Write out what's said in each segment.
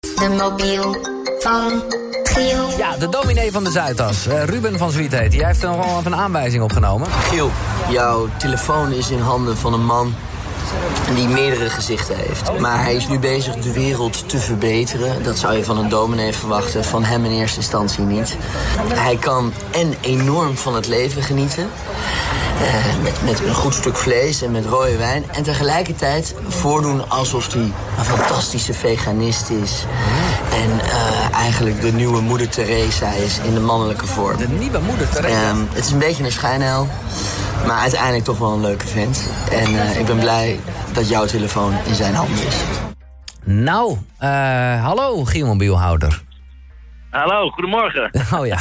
de mobiel van Giel. Ja, de dominee van de Zuidas, eh, Ruben van Zwiet heet. Die heeft er nogal even een aanwijzing opgenomen. Giel, jouw telefoon is in handen van een man die meerdere gezichten heeft. Maar hij is nu bezig de wereld te verbeteren. Dat zou je van een dominee verwachten, van hem in eerste instantie niet. Hij kan en enorm van het leven genieten. eh, met, met een goed stuk vlees en met rode wijn. En tegelijkertijd voordoen alsof hij een fantastische veganist is. En eh, eigenlijk de nieuwe moeder Teresa is in de mannelijke vorm. De nieuwe moeder terecht. Ehm, het is een beetje een schijnheil. Maar uiteindelijk toch wel een leuke vent. En eh, ik ben blij dat jouw telefoon in zijn handen is. Nou, eh, hallo Giel Mobielhouder. Hallo, goedemorgen. Oh ja.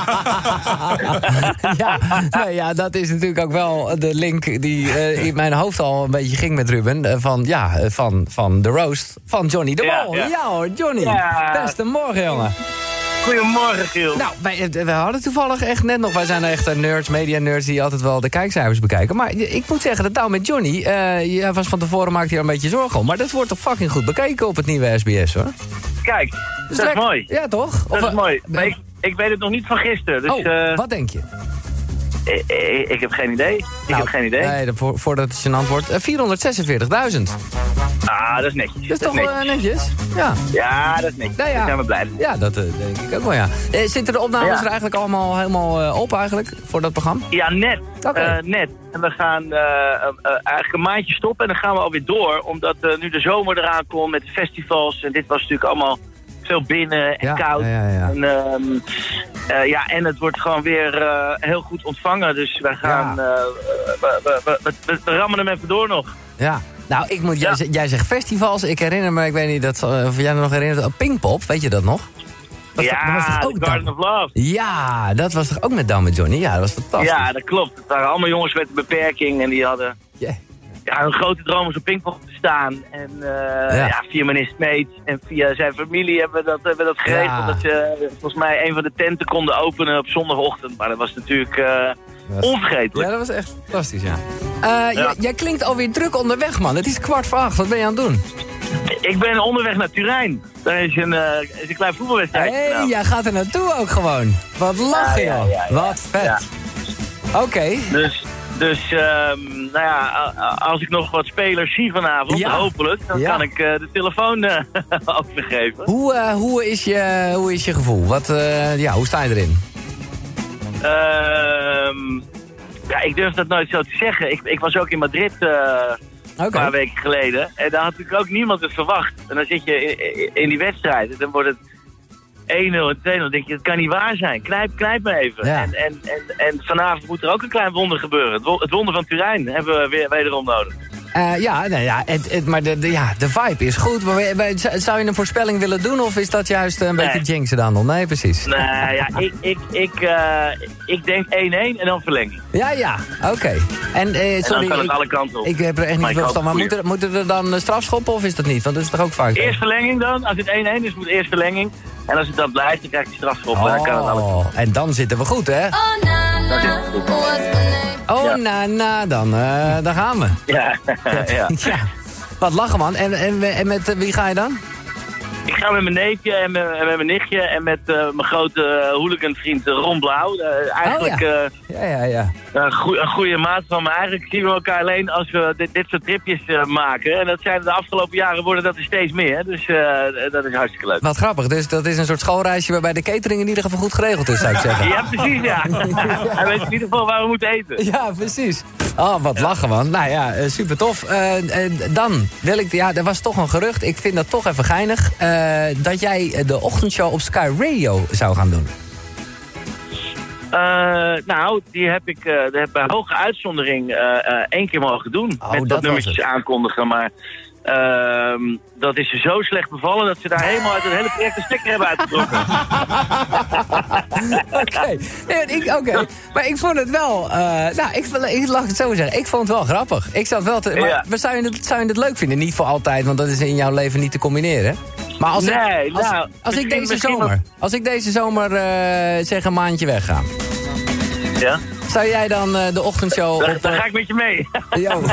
ja, nee, ja, dat is natuurlijk ook wel de link die eh, in mijn hoofd al een beetje ging met Ruben. eh, van, ja, eh, van, van de roast van Johnny de Ja, Mol. Ja, ja. hoor, Johnny. Ja. Beste morgen, jongen. Goedemorgen, Giel. Nou, wij, we hadden toevallig echt net nog... Wij zijn echt eh, nerds, media nerds, die altijd wel de kijkcijfers bekijken. Maar ik moet zeggen dat nou met Johnny... eh, hij was van tevoren maakte hij er een beetje zorgen om. Maar dat wordt toch fucking goed bekeken op het nieuwe SBS, hoor. Kijk, Dus dat is lekker- mooi. Ja, toch? Dat Of, is eh, mooi. Maar ik, ik weet het nog niet van gisteren, dus Oh, eh, wat denk je? ik, ik- ik heb geen idee. Ik heb geen idee. Nou, Nee, dat- voor- voordat het je antwoord. eh, 446.000. Ah, dat is netjes. Dat is toch wel, eh, netjes. netjes? Ja. Ja, dat is netjes. Nou ja. Daar zijn we blij. mee. Ja, dat eh, denk ik ook wel, ja. Eh, zitten de opnames Ja. er eigenlijk allemaal helemaal eh, op eigenlijk, voor dat programma? Ja, net. Oké. Eh, net. En we gaan eh, eh, eh, eigenlijk een maandje stoppen en dan gaan we alweer door. Omdat eh, nu de zomer eraan komt met de festivals. En dit was natuurlijk allemaal veel binnen en Ja, koud. ja, ja, ja. En, ehm, eh, ja, en het wordt gewoon weer eh, heel goed ontvangen. Dus wij gaan... Ja. eh, we, we, we, we- we- we rammen hem even door nog. Ja. Nou, ik moet, jij, Ja. z- jij zegt festivals, ik herinner me, ik weet niet dat, eh, of jij me nog herinnert, oh, Pinkpop, weet je dat nog? Dat, dat was ja, toch de ook dan? Garden of Love. Ja, dat was toch ook met Dan met Johnny? Ja, dat was fantastisch. Ja, dat klopt. Het waren allemaal jongens met een beperking en die hadden... Ja. ja, hun grote droom is op Pinkpop te staan. En eh, Ja. ja. via meneer Smeet en via zijn familie hebben we dat, hebben we dat geregeld. Ja. Dat ze eh, volgens mij een van de tenten konden openen op zondagochtend. Maar dat was natuurlijk eh Dat was- onvergetelijk. Ja, dat was echt fantastisch, ja. Eh, j- Ja. jij klinkt alweer druk onderweg, man. Het is kwart voor acht, wat ben je aan het doen? Ik ben onderweg naar Turijn. Daar is een, eh, is een klein voetbalwedstrijd. Hé, Nou, jij gaat er naartoe ook gewoon. Wat lachen, Ja, ja, joh. ja, ja. Wat vet. Ja. Oké. Dus, dus ehm, nou ja, a- a- als ik nog wat spelers zie vanavond, Ja. hopelijk, dan Ja. kan ik eh, de telefoon eh, overgeven. Hoe, eh, hoe, is je, hoe is je gevoel? Wat, eh, ja, hoe sta je erin? Ehm, ja, ik durf dat nooit zo te zeggen. Ik, ik was ook in Madrid eh, Oké. een paar weken geleden. En daar had natuurlijk ook niemand het verwacht. En dan zit je in, in- in die wedstrijd. En dan wordt het 1-0 en 2-0. Dan denk je, het kan niet waar zijn. Knijp, knijp me even. Ja. En, en, en, en vanavond moet er ook een klein wonder gebeuren. Het wo- Het wonder van Turijn hebben we weer, wederom nodig. Eh, ja, nou ja, het, het, maar de, de- ja, de vibe is goed. Maar we- we- z- zou je een voorspelling willen doen of is dat juist een Nee. beetje jinxen dan? nog? Nee, precies. Nou ja, ik, ik, ik, eh, ik denk 1-1 en dan verlenging. Ja, ja, oké. En eh, En dan sorry, kan het ik, alle kanten op. ik heb er echt niet Maar ik veel hoop verstand Maar een moeten, moeten er dan eh, strafschoppen of is dat niet? Want dat is toch ook vaak... zo? Eerst verlenging dan. Als het 1-1 is, moet eerst verlenging. En als het dan blijft, dan krijg je strafschop. En dan kan het alle Oh, en dan zitten we goed, hè? Oh na na, what's the name? Oh, Ja. na, na, dan, eh, daar gaan we. Ja, ja. Ja. Wat lachen, man. En, en, en met eh, wie ga je dan? Ik ga met mijn neefje en met, en met mijn nichtje en met eh, mijn grote eh, hooliganvriend eh, Ron Blauw. Eh, eigenlijk Oh, eh, Ja, ja, ja. een, goe- een goede maat van me. Eigenlijk zien we elkaar alleen als we dit, dit soort tripjes eh, maken. En dat zijn de afgelopen jaren worden dat er steeds meer. Dus eh, dat is hartstikke leuk. Wat grappig. Dus dat is een soort schoolreisje waarbij de catering in ieder geval goed geregeld is, zou ik zeggen. Ja, precies ja. Hij weet in ieder geval waar we moeten eten. Ja, precies. Oh, wat lachen, man. Nou ja, eh, super tof. Eh, eh, dan wil ik... Ja, er was toch een gerucht. Ik vind dat toch even geinig. eh, dat jij de ochtendshow op Sky Radio zou gaan doen. Eh, nou, die heb ik eh, die heb bij hoge uitzondering eh, eh, één keer mogen doen. Oh, met dat was dat nummertjes het. aankondigen. Maar ehm, dat is ze zo slecht bevallen dat ze daar helemaal uit het hele project de stekker hebben uitgetrokken. Oké. Nee, want ik- Oké. Maar ik vond het wel... eh, nou, ik, vond- ik, laat ik het zo zeggen. Ik vond het wel grappig. Ik zat wel te... Maar, Ja. maar zou, je het, zou je het leuk vinden? Niet voor altijd, want dat is in jouw leven niet te combineren. Maar als Nee, ik, als, nou, als ik misschien- deze misschien zomer... Als ik deze zomer eh, zeg een maandje wegga... ja? Zou jij dan eh, de ochtendshow Daar, op... daar eh, ga ik met je mee. Yo.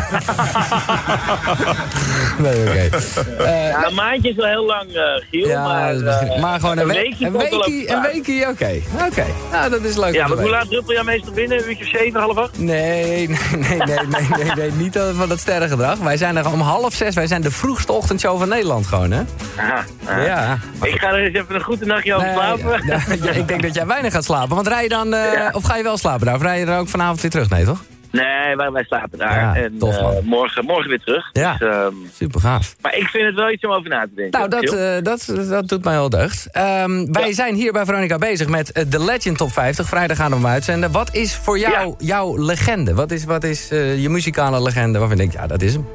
Nee, oké. Eh, Ja, een maandje is wel heel lang, eh, Giel. ja, maar, dat is misschien- eh, maar gewoon een, week. weekje Een komt wel weekie, op een de weekie, oké. Oké, nou dat is leuk. om Ja, te maar hoe weten. laat druppel jij meestal binnen? Een uurtje of zeven, half acht? Nee, nee, nee, nee, nee, nee, nee, niet dat- van dat sterrengedrag. Wij zijn er om half zes, wij zijn de vroegste ochtendshow van Nederland gewoon, hè? Aha, aha. Ja. Ik ga er eens even een goede nachtje over Nee, slapen. ja, ja, ik denk dat jij weinig gaat slapen. Want rij je dan, eh, of ga je wel slapen daar? Of rij je er ook vanavond weer terug? Nee, toch? Nee, wij, wij slapen daar. Ja, en tof, eh, man. morgen, morgen weer terug. Ja. Dus, ehm, Super gaaf. maar ik vind het wel iets om over na te denken. Nou, dat, Giel. eh, dat, dat doet mij wel deugd. Ehm, wij zijn hier bij Veronica bezig met eh, de Legend Top 50. Vrijdag gaan we hem uitzenden. Wat is voor jou Ja. jouw legende? Wat is, wat is eh, je muzikale legende waarvan je denkt, ja, dat is hem.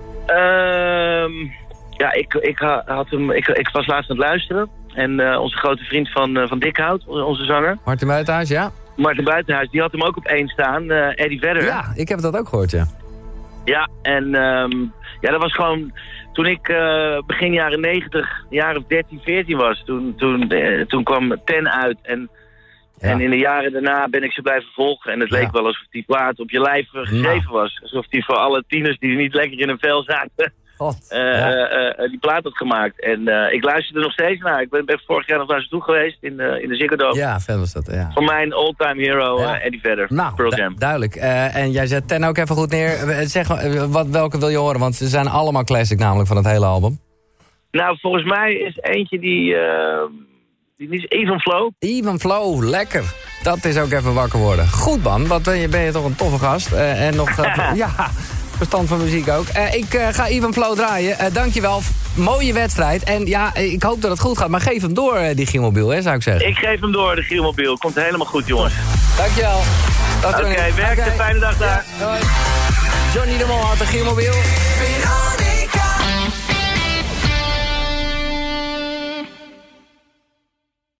Ehm, ja, ik, ik, ha- had hem, ik, ik was laatst aan het luisteren. En eh, onze grote vriend van, eh, van Dikhout, on- onze zanger, Martin Buitenhuis, ja? Martin Buitenhuis, die had hem ook op één staan. eh, Eddie Vedder. Ja, ik heb dat ook gehoord, ja. Ja, en ehm, ja, dat was gewoon... Toen ik eh, begin jaren 90, jaar of 13, 14 was, toen, toen, eh, toen kwam Ten uit. En, Ja. en in de jaren daarna ben ik ze blijven volgen. En het leek Ja. Nou. wel alsof die plaat op je lijf eh, geschreven was. Alsof die voor alle tieners die niet lekker in hun vel zaten, God. eh, Oh, ja. eh, eh, die plaat had gemaakt. En eh, ik luister er nog steeds naar. Ik ben, ben vorig jaar nog naar ze toe geweest in, de in de Ziggo Dome. Ja, vet was dat, ja. Van mijn all-time hero, Ja. eh, Eddie Vedder, Nou, Pearl du- Jam. duidelijk. Eh, en jij zet Ten ook even goed neer. Eh, Zeg, maar, eh, wat, welke wil je horen? Want ze zijn allemaal classic namelijk van het hele album. Nou, volgens mij is eentje die... eh, die niet is Even Flow. Even Flow, lekker. Dat is ook even wakker worden. Goed man, wat ben je, ben je toch een toffe gast. Eh, en nog, eh, ja, verstand van muziek ook. Eh, ik eh, ga Even Flow draaien. Eh, dankjewel, F- mooie wedstrijd. En ja, eh, ik hoop dat het goed gaat. Maar geef hem door, eh, die Gielmobiel, hè, zou ik zeggen. Ik geef hem door, de Gielmobiel. Komt helemaal goed, jongens. Dankjewel. Dag, Oké, Johnny. werk een Oké. fijne dag daar. Doei. Johnny de Mol had de Gielmobiel. Veronica.